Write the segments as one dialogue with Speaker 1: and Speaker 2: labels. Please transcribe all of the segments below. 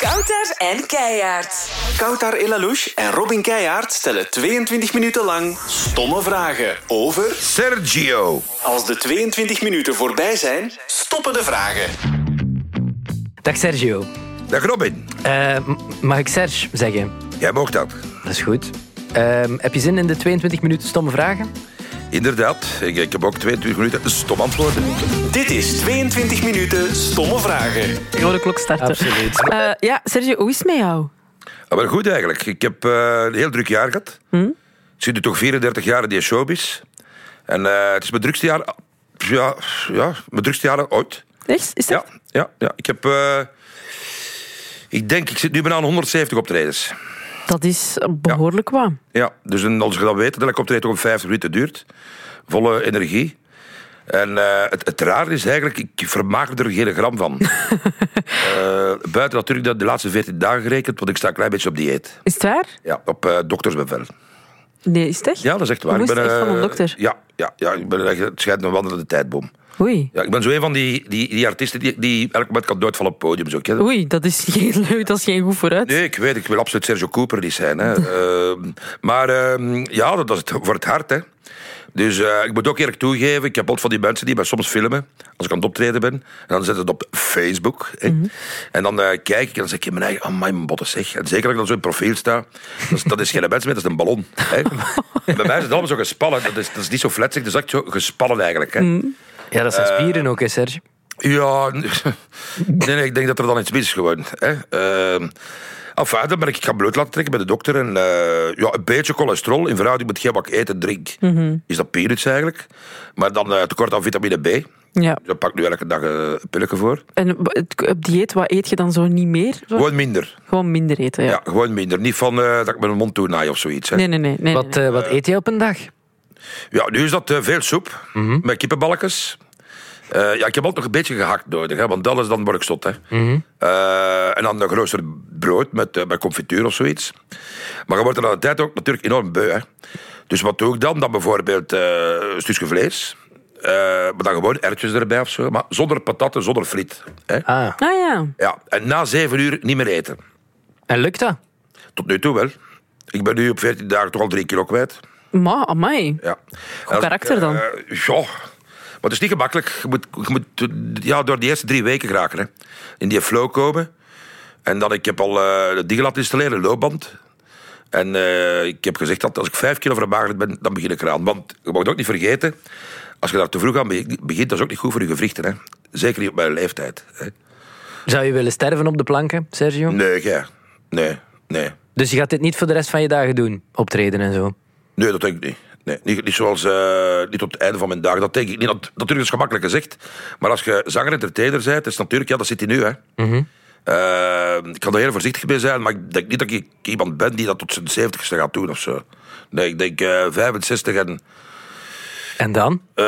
Speaker 1: Kouter en Keijaard.
Speaker 2: Koutar Elalouche en Robin Keijaard stellen 22 minuten lang stomme vragen over...
Speaker 3: Sergio.
Speaker 2: Als de 22 minuten voorbij zijn, stoppen de vragen.
Speaker 4: Dag Sergio.
Speaker 3: Dag Robin.
Speaker 4: Eh, m- mag ik Serge zeggen?
Speaker 3: Jij mocht dat.
Speaker 4: Dat is goed. Ehm, heb je zin in de 22 minuten stomme vragen?
Speaker 3: Inderdaad. Ik, ik heb ook 22 minuten stom antwoorden.
Speaker 2: Dit is 22 minuten stomme vragen.
Speaker 5: Ik hoor de klok starten.
Speaker 4: Absoluut.
Speaker 5: Eh, ja, Sergio, hoe is het met jou?
Speaker 3: Ah, maar goed eigenlijk. Ik heb eh, een heel druk jaar gehad. Ik zit nu toch 34 jaar in die showbiz. En eh, het is mijn drukste jaar... Ja, ja, mijn drukste jaar ooit.
Speaker 5: Echt? Is dat?
Speaker 3: Ja, ja, ja. Ik heb... eh, ik denk, ik zit nu bijna aan 170 optredens.
Speaker 5: Dat is behoorlijk wat.
Speaker 3: Ja, dus een- als je dat weet, dan komt het toch om 50 minuten duurt. Volle energie. En eh, het, het rare is eigenlijk, ik vermaak me er geen gram van. Eh, buiten natuurlijk dat de laatste 14 dagen gerekend, want ik sta een klein beetje op dieet.
Speaker 5: Is het waar?
Speaker 3: Ja, op eh doktersbevel.
Speaker 5: Nee, is het echt?
Speaker 3: Ja, dat is echt waar.
Speaker 5: Hoe is het echt
Speaker 3: eh,
Speaker 5: van een dokter?
Speaker 3: Ja, ja, ja ik ben, echt- het schijnt een wandelende tijdbom.
Speaker 5: Oei.
Speaker 3: Ja, ik ben zo een van die, die, die artiesten die, die elk moment kan doodvallen op het podium. Zo, ken je dat?
Speaker 5: Oei, dat is geen leuk, dat is geen goed vooruit.
Speaker 3: Nee, ik weet, ik wil absoluut Sergio Cooper niet zijn. Hè. Ehm, maar ehm, ja, dat is het voor het hart. Hè. Dus eh, ik moet ook eerlijk toegeven, ik heb altijd van die mensen die mij soms filmen als ik aan het optreden ben. En dan zetten ze het op Facebook. hè. En dan eh, kijk ik en dan zeg ik in mijn eigen, amai, mijn botten zeg. En zeker als ik dan zo in profiel sta, dat is, dat is geen mens meer, dat is een ballon. Hè. En bij mij is het allemaal zo gespannen. Dat is, dat is niet zo fletsig, dat is echt zo gespannen eigenlijk. Hè.
Speaker 4: Ja, dat zijn spieren ook, hè, Serge.
Speaker 3: Ja, nee, nee, ik denk dat er dan iets mis is gewoon. Hè. Ehm, enfin, dan ben ik, ik ga bloot laten trekken bij de dokter. En, eh, ja, een beetje cholesterol in verhouding met geen wat ik eet en drink. Is dat peanuts eigenlijk. Maar dan eh, tekort aan vitamine B.
Speaker 5: Ja.
Speaker 3: Daar pak ik nu elke dag eh, een pilletje voor.
Speaker 5: En w- het- op dieet, wat eet je dan zo niet meer? Zo-
Speaker 3: Gewoon minder.
Speaker 5: Gewoon minder eten, ja.
Speaker 3: Ja, gewoon minder. Niet van eh, dat ik mijn mond toenaai of zoiets. Hè.
Speaker 5: Nee, nee, nee. nee, nee,
Speaker 4: Wat,
Speaker 5: nee.
Speaker 4: eh, wat eet jij op een dag?
Speaker 3: Ja, nu is dat eh, veel soep met kippenbalkjes. Eh, ja, ik heb altijd nog een beetje gehakt nodig, hè, want dat is dan word ik zot. Hè. Eh, en dan een groter brood met, eh, met confituur of zoiets. Maar je wordt er aan de tijd ook natuurlijk enorm beu. Hè. Dus wat doe ik dan? Dan bijvoorbeeld eh, een stukje vlees. Eh, maar dan gewoon erwtjes erbij of zo. Maar zonder patatten, zonder friet. Hè.
Speaker 4: Ah,
Speaker 5: Ah ja.
Speaker 3: Ja, en na zeven uur niet meer eten.
Speaker 4: en lukt dat?
Speaker 3: Tot nu toe wel. Ik ben nu op 14 dagen toch al drie kilo kwijt.
Speaker 5: Ma, amai.
Speaker 3: Ja.
Speaker 5: Goed karakter dan.
Speaker 3: Eh, ja. Maar het is niet gemakkelijk. Je moet, je moet ja, door die eerste drie weken geraken. Hè. In die flow komen. En dan, ik heb al eh de dingen laten installeren, loopband. En eh, ik heb gezegd dat als ik vijf kilo vermagerd ben, dan begin ik eraan. Want je mag het ook niet vergeten, als je daar te vroeg aan be- begint, dat is ook niet goed voor je gewrichten. Hè. Zeker niet op mijn leeftijd. Hè.
Speaker 4: Zou je willen sterven op de planken, Sergio?
Speaker 3: Nee, jij. Nee, nee.
Speaker 4: Dus je gaat dit niet voor de rest van je dagen doen? Optreden en zo?
Speaker 3: Nee, dat denk ik niet. Nee, niet, niet zoals eh, niet op het einde van mijn dagen. Dat denk ik niet. Dat, natuurlijk is gemakkelijk gezegd. Maar als je zanger en entertainer bent, is natuurlijk, ja, dat zit hij nu. Hè. Eh, ik kan er heel voorzichtig mee zijn, maar ik denk niet dat ik iemand ben die dat tot zijn zeventigste gaat doen of zo. Nee, ik denk eh 65 en.
Speaker 4: En dan?
Speaker 3: eh,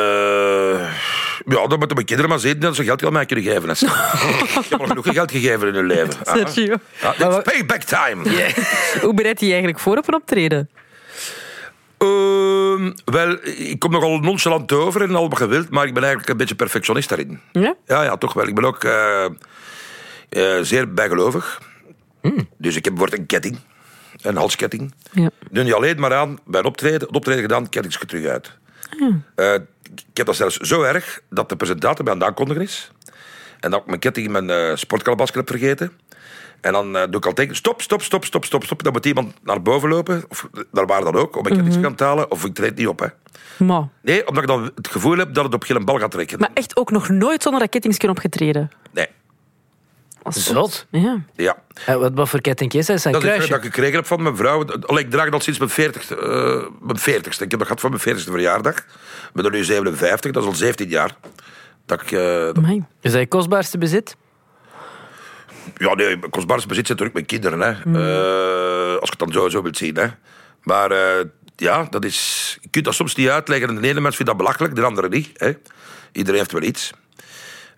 Speaker 3: ja, dan moeten mijn kinderen maar zien dat ze geld aan mij kunnen geven. hè. Ze- Ik heb al genoeg geld gegeven in hun leven. Ah,
Speaker 5: Sergio.
Speaker 3: ah, dit is payback time.
Speaker 5: Hoe bereidt hij je eigenlijk voor op een optreden?
Speaker 3: Ehm, wel, ik kom nogal nonchalant over en al wat gewild, maar ik ben eigenlijk een beetje perfectionist daarin.
Speaker 5: Ja?
Speaker 3: Ja, ja, toch wel. Ik ben ook eh, eh, zeer bijgelovig. Dus ik heb bijvoorbeeld een ketting, een halsketting.
Speaker 5: Ja.
Speaker 3: Doe niet alleen maar aan bij een optreden. Het optreden gedaan, ketting ik ze terug uit. Eh, ik heb dat zelfs zo erg dat de presentator bij aan de aankondiger is. En dat ik mijn ketting in mijn eh sportkalabasken heb vergeten. En dan eh, doe ik al tegen, stop, stop, stop, stop, stop, stop. Dan moet iemand naar boven lopen, of naar waar dan ook, om mijn ketting te gaan halen. Of ik treed niet op, hè.
Speaker 5: Ma.
Speaker 3: Nee, omdat ik dan het gevoel heb dat het op geen bal gaat trekken.
Speaker 5: Maar echt ook nog nooit zonder dat kettingsken opgetreden.
Speaker 3: Nee,
Speaker 5: Als
Speaker 4: Zot.
Speaker 5: Ja.
Speaker 3: ja.
Speaker 4: En Eh, wat, wat voor ketting is dat? Is dat een
Speaker 3: Dat is iets
Speaker 4: kruisje?
Speaker 3: dat ik gekregen heb van mijn vrouw. Allee, ik draag dat sinds mijn 40 mijn 40ste. Ik heb dat gehad van mijn 40ste verjaardag. Ik ben er nu 57, dat is al 17 jaar. Dat ik, eh, dat-
Speaker 5: Amai.
Speaker 4: Is dat je kostbaarste bezit?
Speaker 3: ja, nee, mijn kostbaarste bezit zijn natuurlijk mijn kinderen. Hè. Eh, als ik het dan zo, zo wil zien. Hè. Maar eh, ja, dat is, je kunt dat soms niet uitleggen. De ene mens vindt dat belachelijk, de andere niet. Hè. Iedereen heeft wel iets.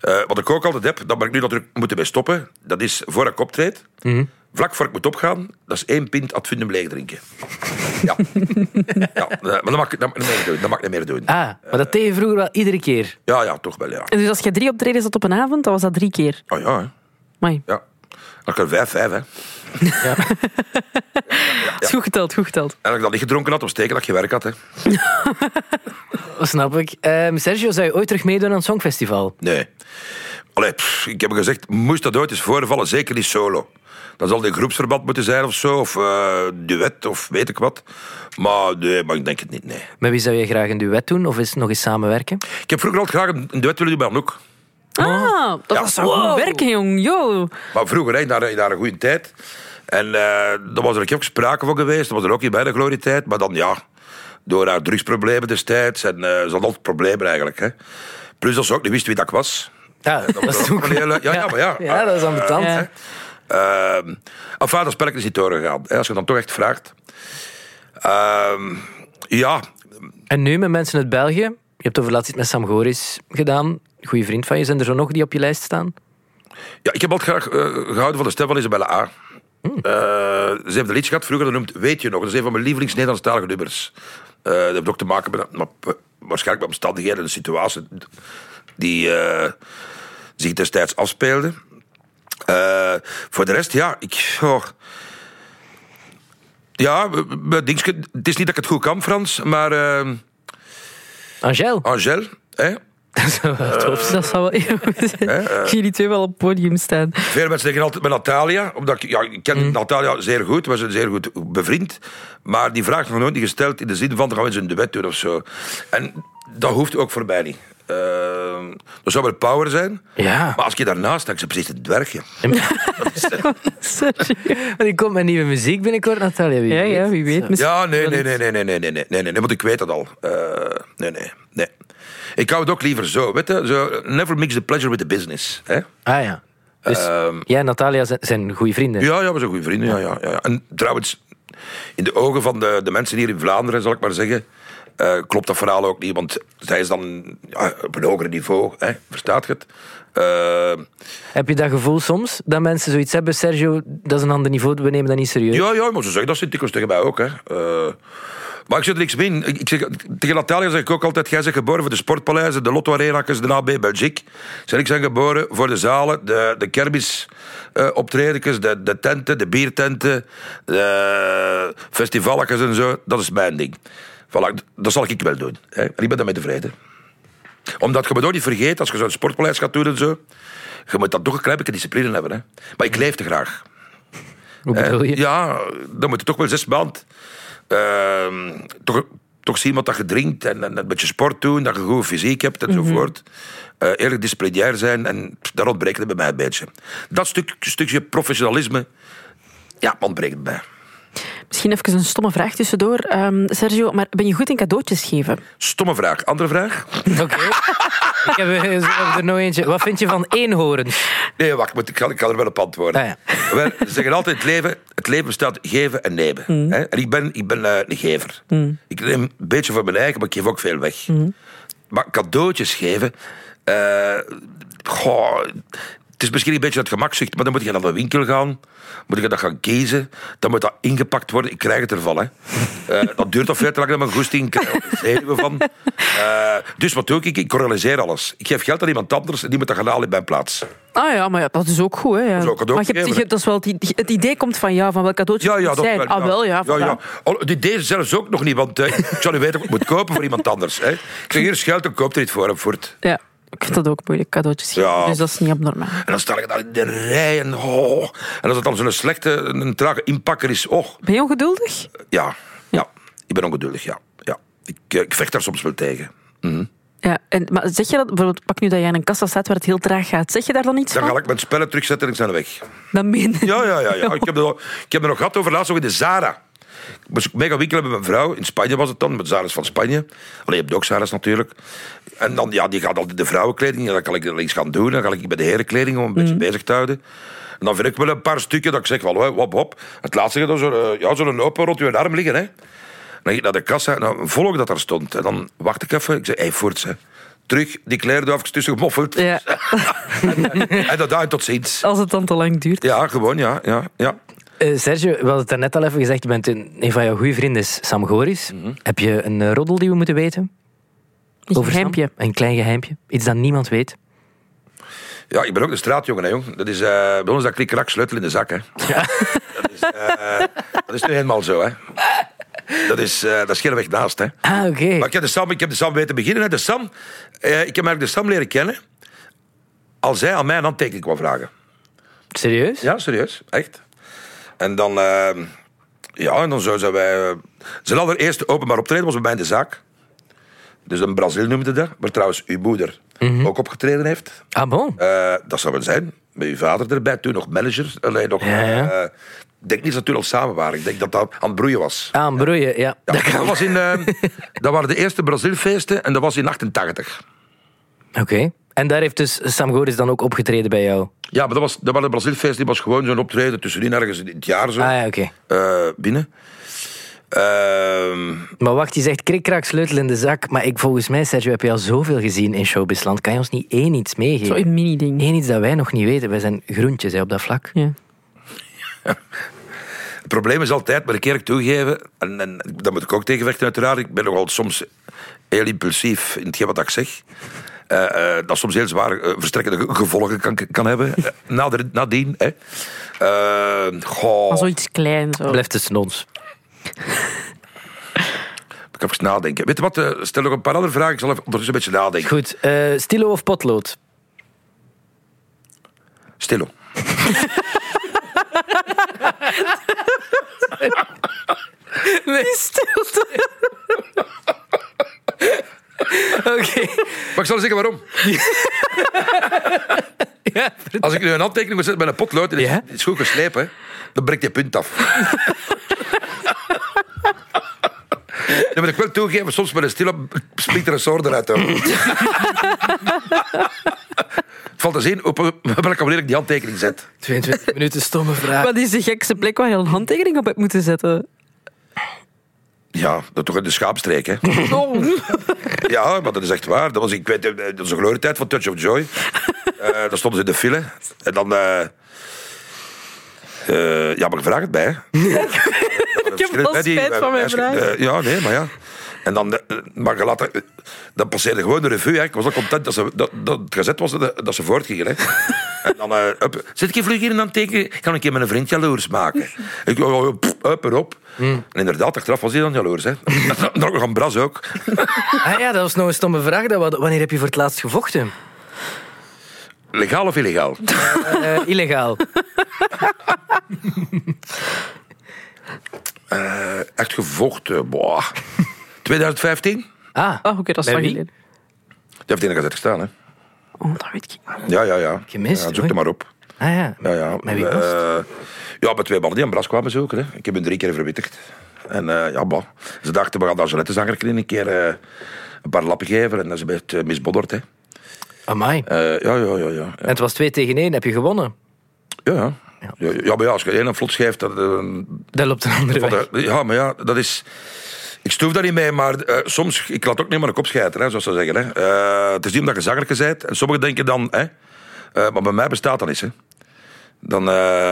Speaker 3: Eh, wat ik ook altijd heb, dat ben ik nu natuurlijk moeten bij stoppen. Dat is voor ik optreed. Vlak voor ik moet opgaan, dat is één pint ad fundum leeg drinken. Ja. ja. eh, Maar dat mag, ik- dat mag ik niet meer doen. Dat mag ik niet meer doen.
Speaker 4: Ah, maar dat deed je vroeger wel iedere keer.
Speaker 3: Ja, ja, toch wel, ja.
Speaker 5: En dus als je drie optredens had op een avond, dan was dat drie keer.
Speaker 3: Oh ja, hè.
Speaker 5: Amai.
Speaker 3: ja. Dan kan er vijf, vijf, hè.
Speaker 5: Is goed geteld, goed geteld.
Speaker 3: En als ik dat niet gedronken had, was teken dat ik geen werk had, hè.
Speaker 4: Dat snap ik. Ehm, Sergio, zou je ooit terug meedoen aan het Songfestival?
Speaker 3: Nee. Allee, pff, ik heb gezegd, moest dat ooit eens voorvallen, zeker niet solo. Dan zal die groepsverband moeten zijn of zo, of eh, duet, of weet ik wat. Maar nee, maar ik denk het niet, nee.
Speaker 4: Met wie zou je graag een duet doen? Of is nog eens samenwerken?
Speaker 3: Ik heb vroeger altijd graag een, een duet willen doen met Anouk.
Speaker 5: Ah, dat
Speaker 3: Ja.
Speaker 5: was zou goed
Speaker 3: Wow.
Speaker 5: werken, jong. Yo.
Speaker 3: Maar vroeger, hè, naar, naar een goede tijd. En eh, daar was er ook sprake van geweest. Dat was er ook niet bij de glorietijd. Maar dan, ja, door haar drugsproblemen destijds. En eh, ze had altijd problemen eigenlijk. Hè. Plus dat ze ook niet wist wie dat ik was.
Speaker 4: Ja, dat
Speaker 3: was ook een hele- ja, ja, maar ja.
Speaker 4: Ja, dat is ambetant.
Speaker 5: Ja.
Speaker 4: hè.
Speaker 3: Ehm enfin, dat spelletje is niet doorgegaan. Hè, als je dan toch echt vraagt. Ehm, ja,
Speaker 4: En nu met mensen uit België. Je hebt over laatst iets met Sam Goris gedaan. Goeie vriend van je. Zijn er zo nog die op je lijst staan?
Speaker 3: Ja, ik heb altijd graag eh, gehouden van de stem van Isabella A. Eh, ze heeft een liedje gehad, vroeger genoemd Weet je nog. Dat is een van mijn lievelings Nederlandstalige nummers. Eh, dat heeft ook te maken met, met- met- waarschijnlijk met omstandigheden en de situatie die eh, zich destijds afspeelde. Eh, voor de rest, ja, ik... oh. Ja, m- m- dingske, het is niet dat ik het goed kan, Frans, maar eh
Speaker 4: Angel.
Speaker 3: Angèle, hè?
Speaker 5: dat zou wel Ik zie die twee wel op het podium staan.
Speaker 3: Veel mensen denken altijd met Natalia, omdat ik, ja, ik ken Natalia zeer goed, we zijn zeer goed bevriend. Maar die vraag is nog nooit niet gesteld in de zin van, gaan we eens een duet doen of zo. En dat hoeft ook voor mij niet. Eh, dat zou wel power zijn.
Speaker 4: Ja.
Speaker 3: Maar als je daarnaast hangt, is het precies een dwergje.
Speaker 5: Sergio.
Speaker 4: Maar die komt met nieuwe muziek binnenkort, Natalia. Wie
Speaker 5: Ja,
Speaker 4: weet.
Speaker 5: ja, wie weet. Misschien-
Speaker 3: Ja, nee, nee, nee, nee, nee, nee, nee, nee, nee, nee, want ik weet dat al. Eh, nee, nee, nee. Ik hou het ook liever zo, weet je, zo, never mix the pleasure with the business. Hè?
Speaker 4: Ah ja. Dus jij en Natalia zijn, zijn goede vrienden.
Speaker 3: Ehm. Ja, ja, we zijn goede vrienden. Ja, ja, ja, ja. En trouwens, in de ogen van de, de mensen hier in Vlaanderen, zal ik maar zeggen, eh, klopt dat verhaal ook niet. Want zij is dan ja, op een hoger niveau, hè, verstaat je het? Eh,
Speaker 4: Heb je dat gevoel soms? Dat mensen zoiets hebben, Sergio, dat is een ander niveau, we nemen dat niet serieus.
Speaker 3: ja, ja, maar ze zeggen dat zit dikwijls tegen mij ook. Hè. Eh, maar ik zit er niks mee in. Ik, ik zeg, tegen Natalia zeg ik ook altijd, jij bent geboren voor de sportpaleizen, de Lotto Arena's, de AB Belgique. Zeg, ik zijn geboren voor de zalen, de, de kermis eh optredens, de, de tenten, de biertenten, de festivalletjes en zo. Dat is mijn ding. Voilà, dat zal ik wel doen. Hè. En ik ben daarmee tevreden. Omdat je me toch niet vergeet, als je zo'n sportpaleis gaat doen en zo, je moet dan toch een klein beetje discipline hebben. Hè. Maar ik leef te graag.
Speaker 4: Hoe
Speaker 3: Eh,
Speaker 4: bedoel je?
Speaker 3: Ja, dan moet je toch wel zes maand ehm, toch, toch zien wat dat je drinkt en, en een beetje sport doen, dat je goed fysiek hebt enzovoort. Eh, eerlijk disciplinair zijn en pff, daar ontbreekt het bij mij een beetje. Dat stuk, stukje professionalisme, ja, ontbreekt het bij mij.
Speaker 5: Misschien even een stomme vraag tussendoor. Ehm, Sergio, maar ben je goed in cadeautjes geven?
Speaker 3: Stomme vraag. Andere vraag?
Speaker 4: Oké. ik heb eh, ik heb er nog eentje. Wat vind je van eenhoorns?
Speaker 3: Nee, wacht, ik moet- ik kan, ik kan er wel op antwoorden.
Speaker 4: Ah, ja.
Speaker 3: Wel, ze zeggen altijd, het leven, het leven bestaat uit geven en nemen.
Speaker 4: Mm.
Speaker 3: Hè? En ik ben, ik ben eh, een gever. Ik neem een beetje voor mijn eigen, maar ik geef ook veel weg.
Speaker 4: Mm.
Speaker 3: Maar cadeautjes geven... eh, goh, het is misschien een beetje het gemakzucht, maar dan moet je naar de winkel gaan. Moet je dat gaan kiezen. Dan moet dat ingepakt worden. Ik krijg het ervan. Hè. Eh, dat duurt al veel te lang dat mijn goesting krijgt. Daar zijn we van. Eh, dus wat doe ik? Ik correleer alles. Ik geef geld aan iemand anders en die moet dat gaan halen in mijn plaats.
Speaker 5: Ah ja, maar ja, dat is ook goed. Hè, ja.
Speaker 3: is ook cadeautje
Speaker 5: maar je hebt,
Speaker 3: geven,
Speaker 5: je hebt- dat is wel het, i- het idee komt van jou, van welk cadeautje
Speaker 3: Ja,
Speaker 5: het
Speaker 3: ja,
Speaker 5: moet
Speaker 3: dat
Speaker 5: zijn. Ah wel, ja.
Speaker 3: ja, ja.
Speaker 5: voilà.
Speaker 3: Al, die deze zelfs ook nog niet, want eh, ik zou niet weten wat ik moet kopen voor iemand anders. Hè. Ik zeg, hier is geld, dan koop er iets voor hem voort.
Speaker 5: Ja, Ik vind dat ook moeilijk, cadeautjes geven.
Speaker 3: Ja.
Speaker 5: Dus dat is niet abnormaal.
Speaker 3: En dan sta ik daar in de rij en oh. En als het dan zo'n slechte, een, een trage inpakker is, oh,
Speaker 5: Ben je ongeduldig?
Speaker 3: ja, ja. Ik ben ongeduldig, ja. ja. Ik, eh, ik vecht daar soms wel tegen.
Speaker 5: Ja, en, maar zeg je dat, bijvoorbeeld, pak nu dat jij in een kassa staat waar het heel traag gaat, zeg je daar dan iets
Speaker 3: Dan
Speaker 5: van?
Speaker 3: ga ik mijn spellen terugzetten en ik zijn weg.
Speaker 5: Dan meen je-
Speaker 3: Ja, ja, ja. ja. Ik, heb er, nog- ik heb er nog gehad over laatst nog in de Zara. Ik moest ook mega winkelen met mijn vrouw. In Spanje was het dan, met Zara's van Spanje. Allee, je hebt ook Zara's natuurlijk. En dan, ja, die gaat altijd de vrouwenkleding. Ja, dan kan ik er iets gaan doen. Dan ga ik bij de herenkleding om een beetje bezig te houden. En dan vind ik wel een paar stukken dat ik zeg, wel, hop, hop. Het laatste gaat dan zo'n eh, ja, zo'n open rond je arm liggen, hè. Dan ging ik naar de kassa, en dan volg dat daar stond. En dan wacht ik even. Ik zei, hey, voort, hè. Terug, die kleerduifjes tussen gemoffeld.
Speaker 5: Ja.
Speaker 3: En dat daar tot ziens.
Speaker 5: Als het dan te lang duurt.
Speaker 3: Ja, gewoon, ja, ja, ja.
Speaker 4: Eh, Sergio, we hadden het daarnet al even gezegd. Je bent een, een van jouw goede vrienden is Sam Goris.
Speaker 3: Mhm.
Speaker 4: Heb je een eh, roddel die we moeten weten?
Speaker 5: Een
Speaker 4: Sam?
Speaker 5: geheimpje.
Speaker 4: Een klein geheimpje. Iets dat niemand weet.
Speaker 3: Ja, ik ben ook een straatjongen, hè, jong. Dat is, eh, bij ons is dat klik-krak sleutel in de zak, hè. Dat, is, eh, dat is nu helemaal zo, hè. Dat is, eh dat is geen weg naast, hè.
Speaker 4: Ah, oké.
Speaker 3: Maar ik heb de Sam, ik heb de Sam weten beginnen. Hè. De Sam, eh, ik heb eigenlijk de Sam leren kennen als hij aan mij een handtekening kwam vragen.
Speaker 4: Serieus?
Speaker 3: Ja, serieus. Echt. En dan... eh, ja, en dan zo zijn wij... eh, zijn allereerste openbaar optreden was bij mij in de zaak. Dus een Brazil noemde dat. Waar trouwens uw moeder ook opgetreden heeft.
Speaker 4: Ah, bon.
Speaker 3: Eh, dat zou wel zijn. Met uw vader erbij. Toen nog manager. Alleen nog...
Speaker 4: Ja, ja.
Speaker 3: eh, ik denk niet dat toen al samen waren. Ik denk dat dat aan het broeien was.
Speaker 4: Ah, een broeien, ja.
Speaker 3: Ja, dat, was in, eh, dat waren de eerste Brazilfeesten en dat was in 88.
Speaker 4: Oké. En daar heeft dus Sam Goris dan ook opgetreden bij jou?
Speaker 3: Ja, maar dat, was, dat waren de Brazilfeesten, die was gewoon zo'n optreden tussenin ergens in het jaar zo.
Speaker 4: Ah, ja, oké.
Speaker 3: eh, binnen. Ehm,
Speaker 4: Maar wacht, je zegt krikkraak sleutel in de zak. Maar ik, volgens mij, Sergio, heb je al zoveel gezien in Showbizland. Kan je ons niet één iets meegeven?
Speaker 5: Zo'n mini-ding.
Speaker 4: Eén iets dat wij nog niet weten. Wij zijn groentjes hè, op dat vlak.
Speaker 3: Oh.
Speaker 5: Ja.
Speaker 3: het probleem is altijd, maar een keer ik toegeven, en, en dat moet ik ook tegenvechten uiteraard, ik ben nogal soms heel impulsief in hetgeen wat ik zeg. Eh, eh, dat soms heel zwaar eh, verstrekkende ge- gevolgen kan, kan hebben. Eh, nader- nadien, hè. Eh, goh.
Speaker 5: Maar zoiets klein zo.
Speaker 4: Blijft tussen ons.
Speaker 3: Ik ga even nadenken. Weet je wat, eh, stel nog een paar andere vragen. Ik zal even ondertussen een beetje nadenken.
Speaker 4: Goed, eh, stilo of potlood?
Speaker 3: Stilo.
Speaker 5: Die stilte.
Speaker 4: Oké.
Speaker 3: Maar ik zal zeggen waarom.
Speaker 4: Ja,
Speaker 3: Als ik nu een handtekening moet zetten met een potlood, en het is-
Speaker 4: Ja?
Speaker 3: het is goed geslepen, hè, dan breekt je punt af. Dan moet ik wel toegeven, soms met een stilo springt er een soort eruit. hoor. Het valt te zien op welke manier ik die handtekening zet.
Speaker 4: 22 minuten stomme vraag.
Speaker 5: Wat is de gekste plek waar je een handtekening op hebt moeten zetten?
Speaker 3: Ja, dat toch in de schaapstreek, hè? Ja, maar dat is echt waar. Dat was, ik weet, eh, dat is een glorietijd van Touch of Joy. Eh daar stonden ze in de file. En dan... eh, eh, ja, maar ik vraag het bij. hè.
Speaker 5: Ik heb wel
Speaker 3: Hè, die-
Speaker 5: spijt van mijn
Speaker 3: eh,
Speaker 5: vraag.
Speaker 3: eh, ja, nee, maar ja. En dan, eh, maar je laat, dat- dan passeerde gewoon de revue. Hè. Ik was al content dat, ze, dat, dat het gezet was dat, dat ze voortgingen. Hè. En dan, eh, hup, zit ik hier vlug hier en dan teken? Ik kan een keer mijn vriend jaloers maken. Ik, oh, oh, pff, hup, erop.
Speaker 5: Hmm.
Speaker 3: En inderdaad, achteraf was hij dan jaloers. Hè. dan ook nog een bras ook.
Speaker 4: Ah ja, dat was nog een stomme vraag. Dat we- Wanneer heb je voor het laatst gevochten?
Speaker 3: Legaal of illegaal?
Speaker 4: Eh, illegaal.
Speaker 3: Eh, echt gevochten, boah. 2015?
Speaker 4: Ah,
Speaker 5: Ah, oké, dat is
Speaker 4: Bij
Speaker 5: lang
Speaker 4: wie?
Speaker 5: geleden.
Speaker 3: Die heeft in de gazette gestaan, hè?
Speaker 5: Oh, dat weet ik niet.
Speaker 3: Ja, ja, ja.
Speaker 4: Gemist,
Speaker 3: ja, zoek
Speaker 4: hoor.
Speaker 3: er maar op.
Speaker 4: ah ja.
Speaker 3: Ja, Nou ja.
Speaker 4: Met wie was het?
Speaker 3: Eh, ja, met twee mannen die aan Bras kwamen zoeken. Hè. Ik heb hun drie keer verwittigd. En eh, ja, bah. Ze dachten, we gaan daar Gillette-zanger een keer eh, een paar lappen geven. En dat is een beetje eh, misbodderd, hè.
Speaker 4: Amai.
Speaker 3: Eh, ja, ja, ja, ja.
Speaker 4: En het was 2 tegen 1, heb je gewonnen?
Speaker 3: Ja, ja. Ja, ja, maar ja, als je één een vlot schrijft, dat, eh,
Speaker 4: Dat loopt een andere weg.
Speaker 3: Van de- ja, maar ja, dat is... Ik stoef daar niet mee, maar eh, soms... Ik laat ook niet maar een kop schijten, hè, zoals ze zeggen. Hè. Eh, het is niet omdat je zangerke bent. En sommigen denken dan... Hè, eh, maar bij mij bestaat dat niet. Hè. Dan... eh,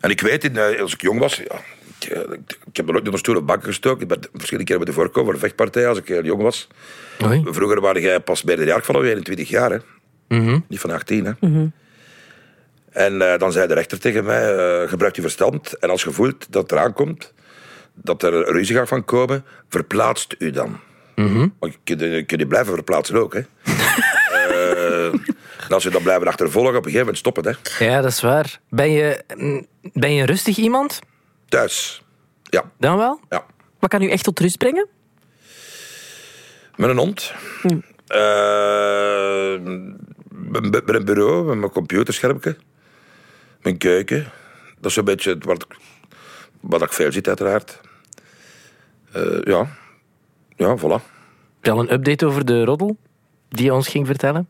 Speaker 3: en ik weet, in, eh, als ik jong was... Ja, ik, eh, ik- ik heb er nooit onder stoelen banken gestoken. Ik ben verschillende keren bij de voorkomen voor een vechtpartij als ik eh, jong was.
Speaker 4: Oei.
Speaker 3: Vroeger waren jij pas bij de jaar van 21 jaar, hè? niet van 18. Hè? En eh, dan zei de rechter tegen mij: eh, gebruik je verstand en als je voelt dat het eraan komt, dat er ruzie gaat van komen, verplaatst u dan. Want je kunt, je kunt je blijven verplaatsen ook. Hè? Eh, en als je dan blijven achtervolgen, op een gegeven moment stoppen. Hè?
Speaker 4: Ja, dat is waar. Ben je, mm, ben je een rustig iemand?
Speaker 3: Thuis. Ja,
Speaker 4: Dan wel?
Speaker 3: ja.
Speaker 5: Wat kan u echt tot rust brengen?
Speaker 3: Met een hond. Eh, met- met met een bureau, met mijn computerschermpje. Mijn keuken. Dat is een beetje het wat, wat ik veel zit, uiteraard. Eh, ja. Ja, voilà.
Speaker 4: Heb je al een update over de roddel die je ons ging vertellen?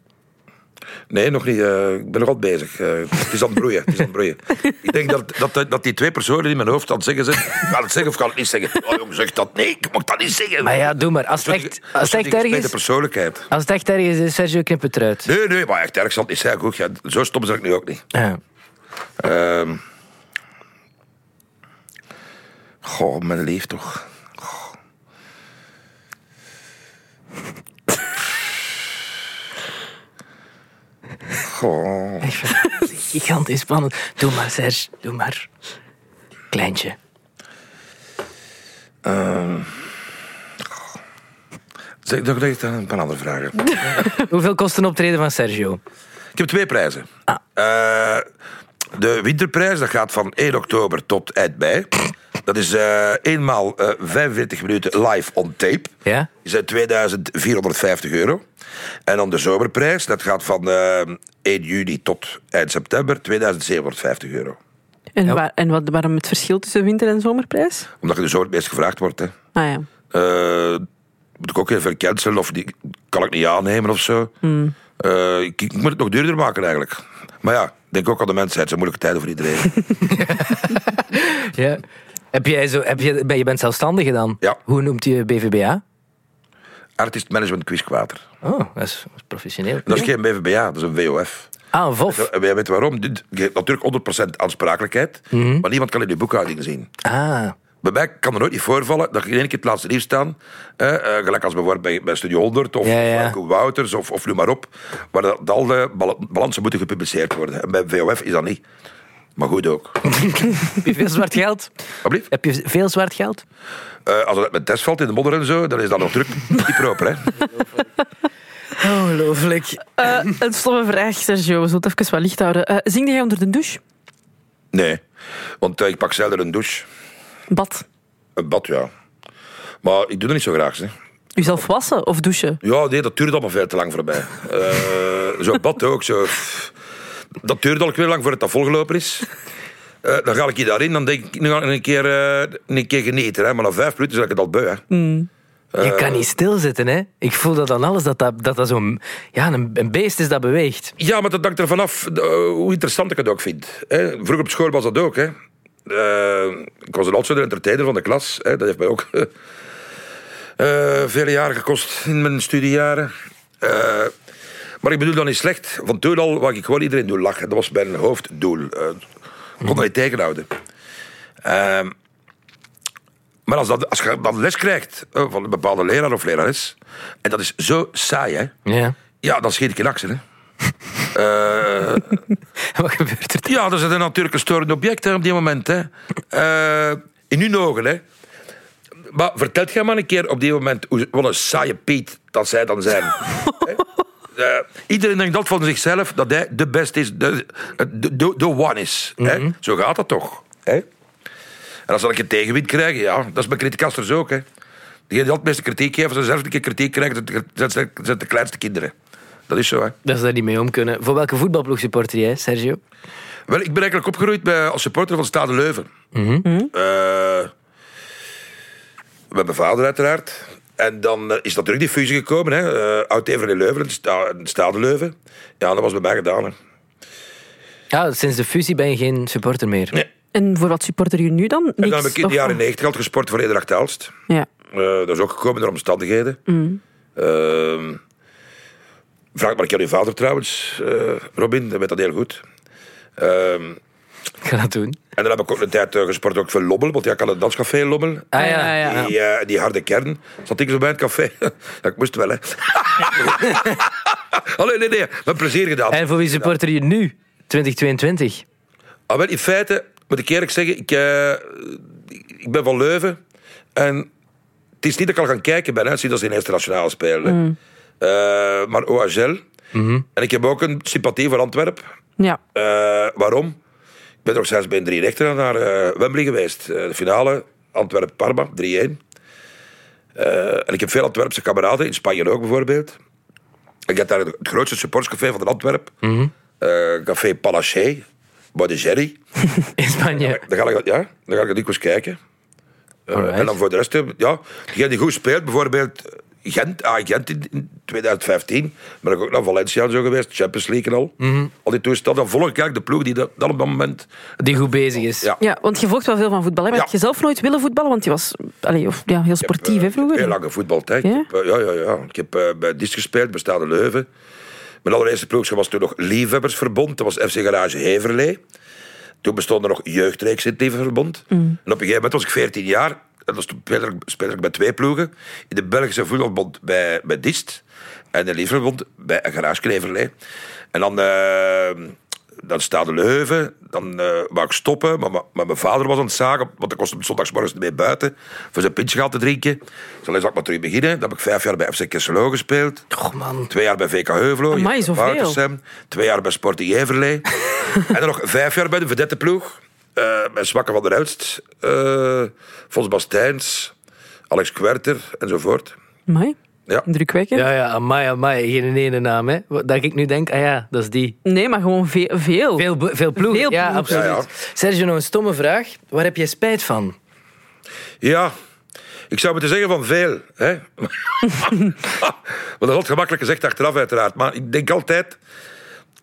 Speaker 3: Nee, nog niet. eh, ik ben nog altijd bezig. Eh, het is aan het broeien. Het is aan het broeien. ik denk dat, dat, dat die twee personen in mijn hoofd aan het zeggen zijn... Ga het zeggen of ga het niet zeggen? Oh, jong, zeg dat. Nee, ik mag dat niet zeggen.
Speaker 4: Maar ja, doe maar. Als
Speaker 3: Dat
Speaker 4: het
Speaker 3: is
Speaker 4: echt,
Speaker 3: een- dat
Speaker 4: als
Speaker 3: is een
Speaker 4: het echt erg
Speaker 3: gespleten
Speaker 4: is,
Speaker 3: persoonlijkheid.
Speaker 4: als het echt erg is, is Sergio knip het eruit.
Speaker 3: Nee, nee, maar echt erg zal het niet zijn. Goed, ja, zo stom ben ik nu ook niet.
Speaker 4: Ja.
Speaker 3: Ehm. Goh, mijn leef toch. Goh. Goh.
Speaker 4: Gigantisch spannend. Doe maar, Serge. Doe maar. Kleintje.
Speaker 3: Zeg, dan krijg ik dan een paar andere vragen.
Speaker 4: Hoeveel kost een optreden van Sergio?
Speaker 3: Ik heb twee prijzen. Eh, de winterprijs dat gaat van 1 oktober tot eind mei. Dat is eh, eenmaal eh 45 minuten live on tape.
Speaker 4: Ja?
Speaker 3: Die zijn 2450 euro. En dan de zomerprijs, dat gaat van eh, 1 juni tot eind september, 2750 euro.
Speaker 5: En, waar, en wat, waarom het verschil tussen winter- en zomerprijs?
Speaker 3: Omdat je de zomer het meest gevraagd wordt. Hè.
Speaker 5: Ah ja.
Speaker 3: Eh, moet ik ook even cancelen of die, kan ik niet aannemen of zo. Eh, ik, ik moet het nog duurder maken eigenlijk. Maar ja, ik denk ook aan de mensheid. Het zijn moeilijke tijden voor iedereen.
Speaker 4: Ja. Heb jij zo, heb je, ben- je bent zelfstandige dan?
Speaker 3: Ja.
Speaker 4: Hoe noemt je BVBA?
Speaker 3: Artist Management Quizkwater.
Speaker 4: Oh, dat is, dat is professioneel.
Speaker 3: Dat is geen BVBA, dat is een VOF.
Speaker 4: Ah, een VOF.
Speaker 3: En jij weet waarom? Dit- Je hebt natuurlijk 100% aansprakelijkheid, maar niemand kan in je boekhouding zien.
Speaker 4: Ah,
Speaker 3: Bij mij kan er nooit niet voorvallen dat je in één keer het laatste nieuws staan. Eh, eh, gelijk als bijvoorbeeld bij, bij Studio 100 of
Speaker 4: Ja, ja.
Speaker 3: Franco Wouters of, of nu maar op. Waar dat, dat al de bal- balansen moeten gepubliceerd worden. En bij VOF is dat niet. Maar goed ook.
Speaker 4: heb je veel zwart geld?
Speaker 3: Alblieft.
Speaker 4: Heb je veel zwart geld?
Speaker 3: Eh, als het met test valt in de modder en zo, dan is dat nog druk. Die proper, hè?
Speaker 4: Ongelooflijk.
Speaker 5: Eh, een stomme vraag, Sergio. We zullen het even wat licht houden. Eh zing jij onder de douche?
Speaker 3: Nee. Want eh, ik pak zelden een douche.
Speaker 5: Bad.
Speaker 3: Een bad, ja. Maar ik doe dat niet zo graag, zeg.
Speaker 5: Uzelf wassen of douchen?
Speaker 3: Ja, nee, dat duurt allemaal veel te lang voor mij. Eh, Zo'n bad ook. Zo. Dat duurt al weer lang voordat dat volgelopen is. Eh, dan ga ik je daarin, dan denk ik, nu ga ik een keer, eh, een keer genieten. Hè. Maar na vijf minuten ben ik het al beu. Hè.
Speaker 4: Je kan niet stilzitten, hè? Ik voel dat aan alles, dat dat, dat, dat zo'n... Ja, een, een beest is dat beweegt.
Speaker 3: Ja, maar dat hangt ervan af eh, hoe interessant ik het ook vind. Hè. Vroeger op school was dat ook. Hè. Eh, ik was een outsider entertainer van de klas. Hè. Dat heeft mij ook eh, vele jaren gekost in mijn studiejaren. Eh, maar ik bedoel dat niet slecht. Van toen al wou ik gewoon iedereen doen lachen. Dat was mijn hoofddoel. Eh, ik kon dat niet tegenhouden. Ehm, maar als, dat, als je dan les krijgt eh, van een bepaalde leraar of lerares... en dat is zo saai, hè.
Speaker 4: Ja.
Speaker 3: Ja, dan schiet ik in actie, hè. Eh,
Speaker 4: Wat gebeurt er?
Speaker 3: ja, dat is natuurlijk een storend object hè, op die moment. Hè. Eh, in hun ogen, hè. Maar vertelt jij maar een keer op die moment hoe, wat een saaie Piet dat zij dan zijn. Hè? Eh, iedereen denkt dat van zichzelf, dat hij de best is, de, de, de, de one is. hè. Zo gaat dat toch. Hè? En als dan ik een tegenwind krijg, ja, dat is bij criticasters ook. Hè. Degenen die altijd het meeste kritiek geven, als ze zelf een keer kritiek krijgen, zijn- zijn- zijn zijn de kleinste kinderen. Dat is zo, hè.
Speaker 4: Dat ze daar niet mee om kunnen. Voor welke voetbalploeg supporter jij, Sergio?
Speaker 3: Wel, ik ben eigenlijk opgegroeid bij, als supporter van Stade Leuven. Eh, met mijn vader uiteraard. En dan eh, is natuurlijk die fusie gekomen. hè. Eh, Oud-Everen in Leuven, en Sta- en Stade Leuven. Ja, dat was bij mij gedaan. Hè.
Speaker 4: Ja, Ah, sinds de fusie ben je geen supporter meer.
Speaker 3: Nee.
Speaker 5: En voor wat supporter je nu dan? Niks,
Speaker 3: En dan heb ik in
Speaker 5: of-
Speaker 3: de jaren 90 al gesport voor Ederach Taalst.
Speaker 5: Ja.
Speaker 3: Eh, dat is ook gekomen door omstandigheden. Ehm, vraag maar een keer aan je vader trouwens, eh, Robin. Dat weet dat heel goed. Ehm,
Speaker 4: Ik ga dat doen.
Speaker 3: en dan heb ik ook een tijd eh, gesport ook voor Lommel. Want ja, ik had een danscafé in Lommel.
Speaker 4: Ah ja,
Speaker 5: Ja, ja,
Speaker 4: ja.
Speaker 3: Die, eh, die harde kern. Zat ik zo bij het café. ja, ik moest wel, hè. Allee, nee, nee. Met plezier gedaan.
Speaker 4: En voor wie supporter je nu? 2022.
Speaker 3: Ah, wel, in feite, moet ik eerlijk zeggen, ik, eh, ik ben van Leuven. En het is niet dat ik al gaan kijken ben, hè, sinds dat ze in internationaal spelen. hè.
Speaker 4: Mm.
Speaker 3: Eh, maar OHL.
Speaker 4: Mhm.
Speaker 3: En ik heb ook een sympathie voor Antwerpen.
Speaker 5: ja.
Speaker 3: Eh, waarom? Ik ben toch zelfs bij een drie rechter naar eh, Wembley geweest. Eh, de finale, Antwerpen-Parma, 3-1. Eh, en ik heb veel Antwerpse kameraden, in Spanje ook bijvoorbeeld. Ik had daar het grootste supportscafé van Antwerpen. Eh, café Palaché, bij de Jerry.
Speaker 4: In Spanje.
Speaker 3: Dan ga ik, ja, dan ga ik dikwijls kijken. Eh,
Speaker 4: Alright.
Speaker 3: en dan voor de rest, eh, ja, degene die goed speelt, bijvoorbeeld Gent, ah, Gent in, in 2015, ben ik ook naar Valencia en zo geweest, Champions League en al.
Speaker 5: Mhm.
Speaker 3: Al die toestanden, dan volg ik eigenlijk de ploeg die dat, dat op dat moment...
Speaker 4: Die goed bezig is.
Speaker 3: Ja.
Speaker 5: Ja, want je volgt wel veel van voetbal. Hè? Maar
Speaker 3: Ja.
Speaker 5: heb je zelf nooit willen voetballen? Want je was allee, of, ja, heel sportief
Speaker 3: eh,
Speaker 5: hè, vroeger.
Speaker 3: Heel lang gevoetbald, hè. Ik
Speaker 5: Ja?
Speaker 3: heb, eh, Ja? ja, ja, Ik heb eh, bij DIS gespeeld, bij Stade Leuven. Mijn allereerste ploeg was toen nog Liefhebbersverbond. Dat was FC Garage Heverlee. Toen bestond er nog jeugdreeks in het Liefhebbersverbond. En op een gegeven moment was ik 14 jaar. Eh, en dan speel ik, speel ik bij twee ploegen. In de Belgische voetbalbond bij, bij Dist. En in Liverpool bij Garage Kleverlee. En dan, eh, dan staat Leuven. Dan eh wou ik stoppen. Maar, maar, maar mijn vader was aan het zagen. Want ik was op zondagsmorgens mee buiten. Voor zijn pintje gaan te drinken. Dus dan zal ik maar terug beginnen. Dan heb ik vijf jaar bij FC Kesselo gespeeld.
Speaker 4: Oh man.
Speaker 3: Twee jaar bij VK Heuvelo.
Speaker 5: Amai,
Speaker 3: Jette
Speaker 5: zoveel.
Speaker 3: Woutersem. Twee jaar bij Sporting Jeverlee. en dan nog vijf jaar bij de verdette ploeg. Eh bij Zwakke van der Elst. eh Fons Bastijns. Alex Kwerter enzovoort.
Speaker 5: Amai.
Speaker 3: Ja.
Speaker 5: Indrukwekkend.
Speaker 4: Ja, ja, amai, amai. Geen ene naam, hè. Wat- Dat ik nu denk, ah ja, dat is die.
Speaker 5: Nee, maar gewoon ve- veel.
Speaker 4: Veel, be- veel ploegen.
Speaker 5: Veel
Speaker 4: ja,
Speaker 5: ploegen.
Speaker 4: absoluut.
Speaker 3: Ja, ja.
Speaker 4: Sergio, nog een stomme vraag. Waar heb jij spijt van?
Speaker 3: Ja, ik zou moeten zeggen van veel. Hè? maar dat is altijd gemakkelijk gezegd achteraf uiteraard. Maar ik denk altijd,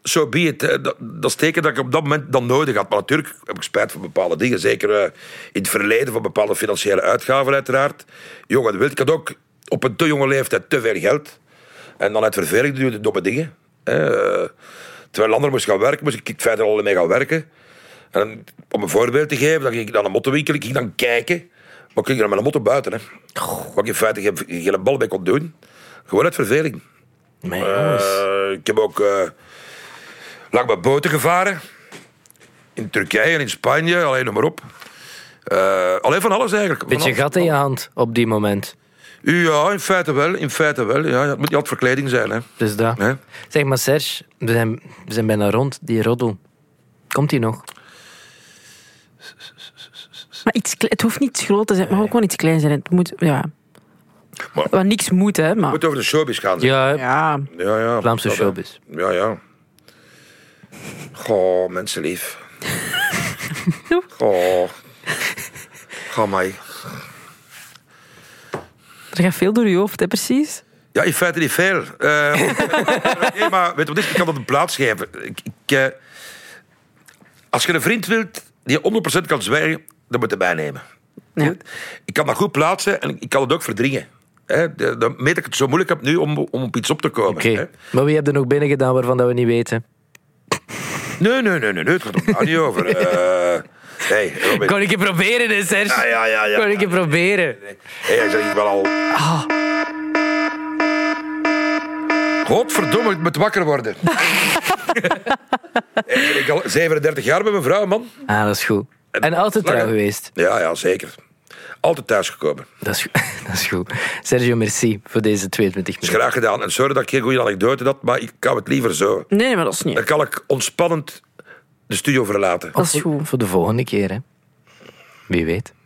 Speaker 3: zo so be it. hè. Dat, dat is teken dat ik op dat moment dan nodig had. Maar natuurlijk heb ik spijt van bepaalde dingen. Zeker eh, in het verleden van bepaalde financiële uitgaven uiteraard. Jongen, de wild. Ik had ook op een te jonge leeftijd te veel geld. En dan uit verveling doe je de domme dingen. hè. Eh, terwijl anderen moest gaan werken, moest ik verder al mee gaan werken. En om een voorbeeld te geven, dan ging ik naar een mottenwinkel, ik ging dan kijken. Maar ik ging er met een motto buiten, hè. Wat ik in feite geen, geen bal mee kon doen. Gewoon uit verveling.
Speaker 4: Nee,
Speaker 3: Eh, ik heb ook eh, lang met boten gevaren. In Turkije en in Spanje, alleen noem maar op. Eh, alleen van alles eigenlijk. Van
Speaker 4: Beetje
Speaker 3: alles.
Speaker 4: gat in je hand op die moment.
Speaker 3: Ja, in feite wel. In feite wel. Ja, het moet niet altijd verkleding zijn, hè.
Speaker 4: Dus dat.
Speaker 3: Hè?
Speaker 4: Zeg maar, Serge, we zijn, we zijn bijna rond. Die roddel. Komt die nog?
Speaker 5: Maar iets kle- het hoeft niet groot te zijn, het mag ook gewoon iets klein zijn. Het moet, ja.
Speaker 3: Maar-
Speaker 5: Wat niks moet, hè.
Speaker 3: Het
Speaker 5: Maar,
Speaker 3: moet over de showbiz gaan. zeg.
Speaker 4: Ja,
Speaker 5: ja.
Speaker 3: ja, ja.
Speaker 4: Vlaamse
Speaker 3: Dat, eh, hè.
Speaker 4: showbiz.
Speaker 3: Ja, ja. Goh, mensenlief. Goh. Goh, mij.
Speaker 5: Er gaat veel door je hoofd, hè, precies.
Speaker 3: Ja, in feite niet veel. Eh, nee, maar weet je wat is? Ik kan dat een plaats geven. Ik, ik, eh, als je een vriend wilt die 100% kan zwijgen, dan moet je erbij nemen.
Speaker 5: Ja.
Speaker 3: Ik kan dat goed plaatsen en ik kan het ook verdringen. Hè, de- dan meet ik het zo moeilijk heb nu om, om op iets op te komen.
Speaker 4: Oké.
Speaker 3: hè.
Speaker 4: Maar wie heb er nog binnen gedaan waarvan dat we niet weten?
Speaker 3: Nee, nee, nee, nee, nee, het gaat er daar niet over. Eh hey, Robin. Ah,
Speaker 4: Kon ik je proberen, hè, Serge?
Speaker 3: Ja, ja, ja, ja.
Speaker 4: Kon ik je proberen?
Speaker 3: Hé, hij zegt wel al.
Speaker 4: Ah.
Speaker 3: Godverdomme, ik moet wakker worden. ik ben al 37 jaar met mijn vrouw, man.
Speaker 4: Ah, dat is goed. En altijd
Speaker 3: Langer.
Speaker 4: trouw geweest.
Speaker 3: Ja, ja, zeker. Altijd thuisgekomen.
Speaker 4: Dat is, goed. dat is goed. Sergio, merci voor deze 22
Speaker 3: Is
Speaker 4: minuten.
Speaker 3: graag gedaan. En sorry dat ik geen goede anekdote had, maar ik kan het liever zo.
Speaker 5: Nee, nee, maar dat is niet.
Speaker 3: Dan kan ik ontspannend de studio verlaten.
Speaker 5: Dat is
Speaker 4: Voor-
Speaker 5: goed.
Speaker 4: Voor de volgende keer, hè. Wie weet.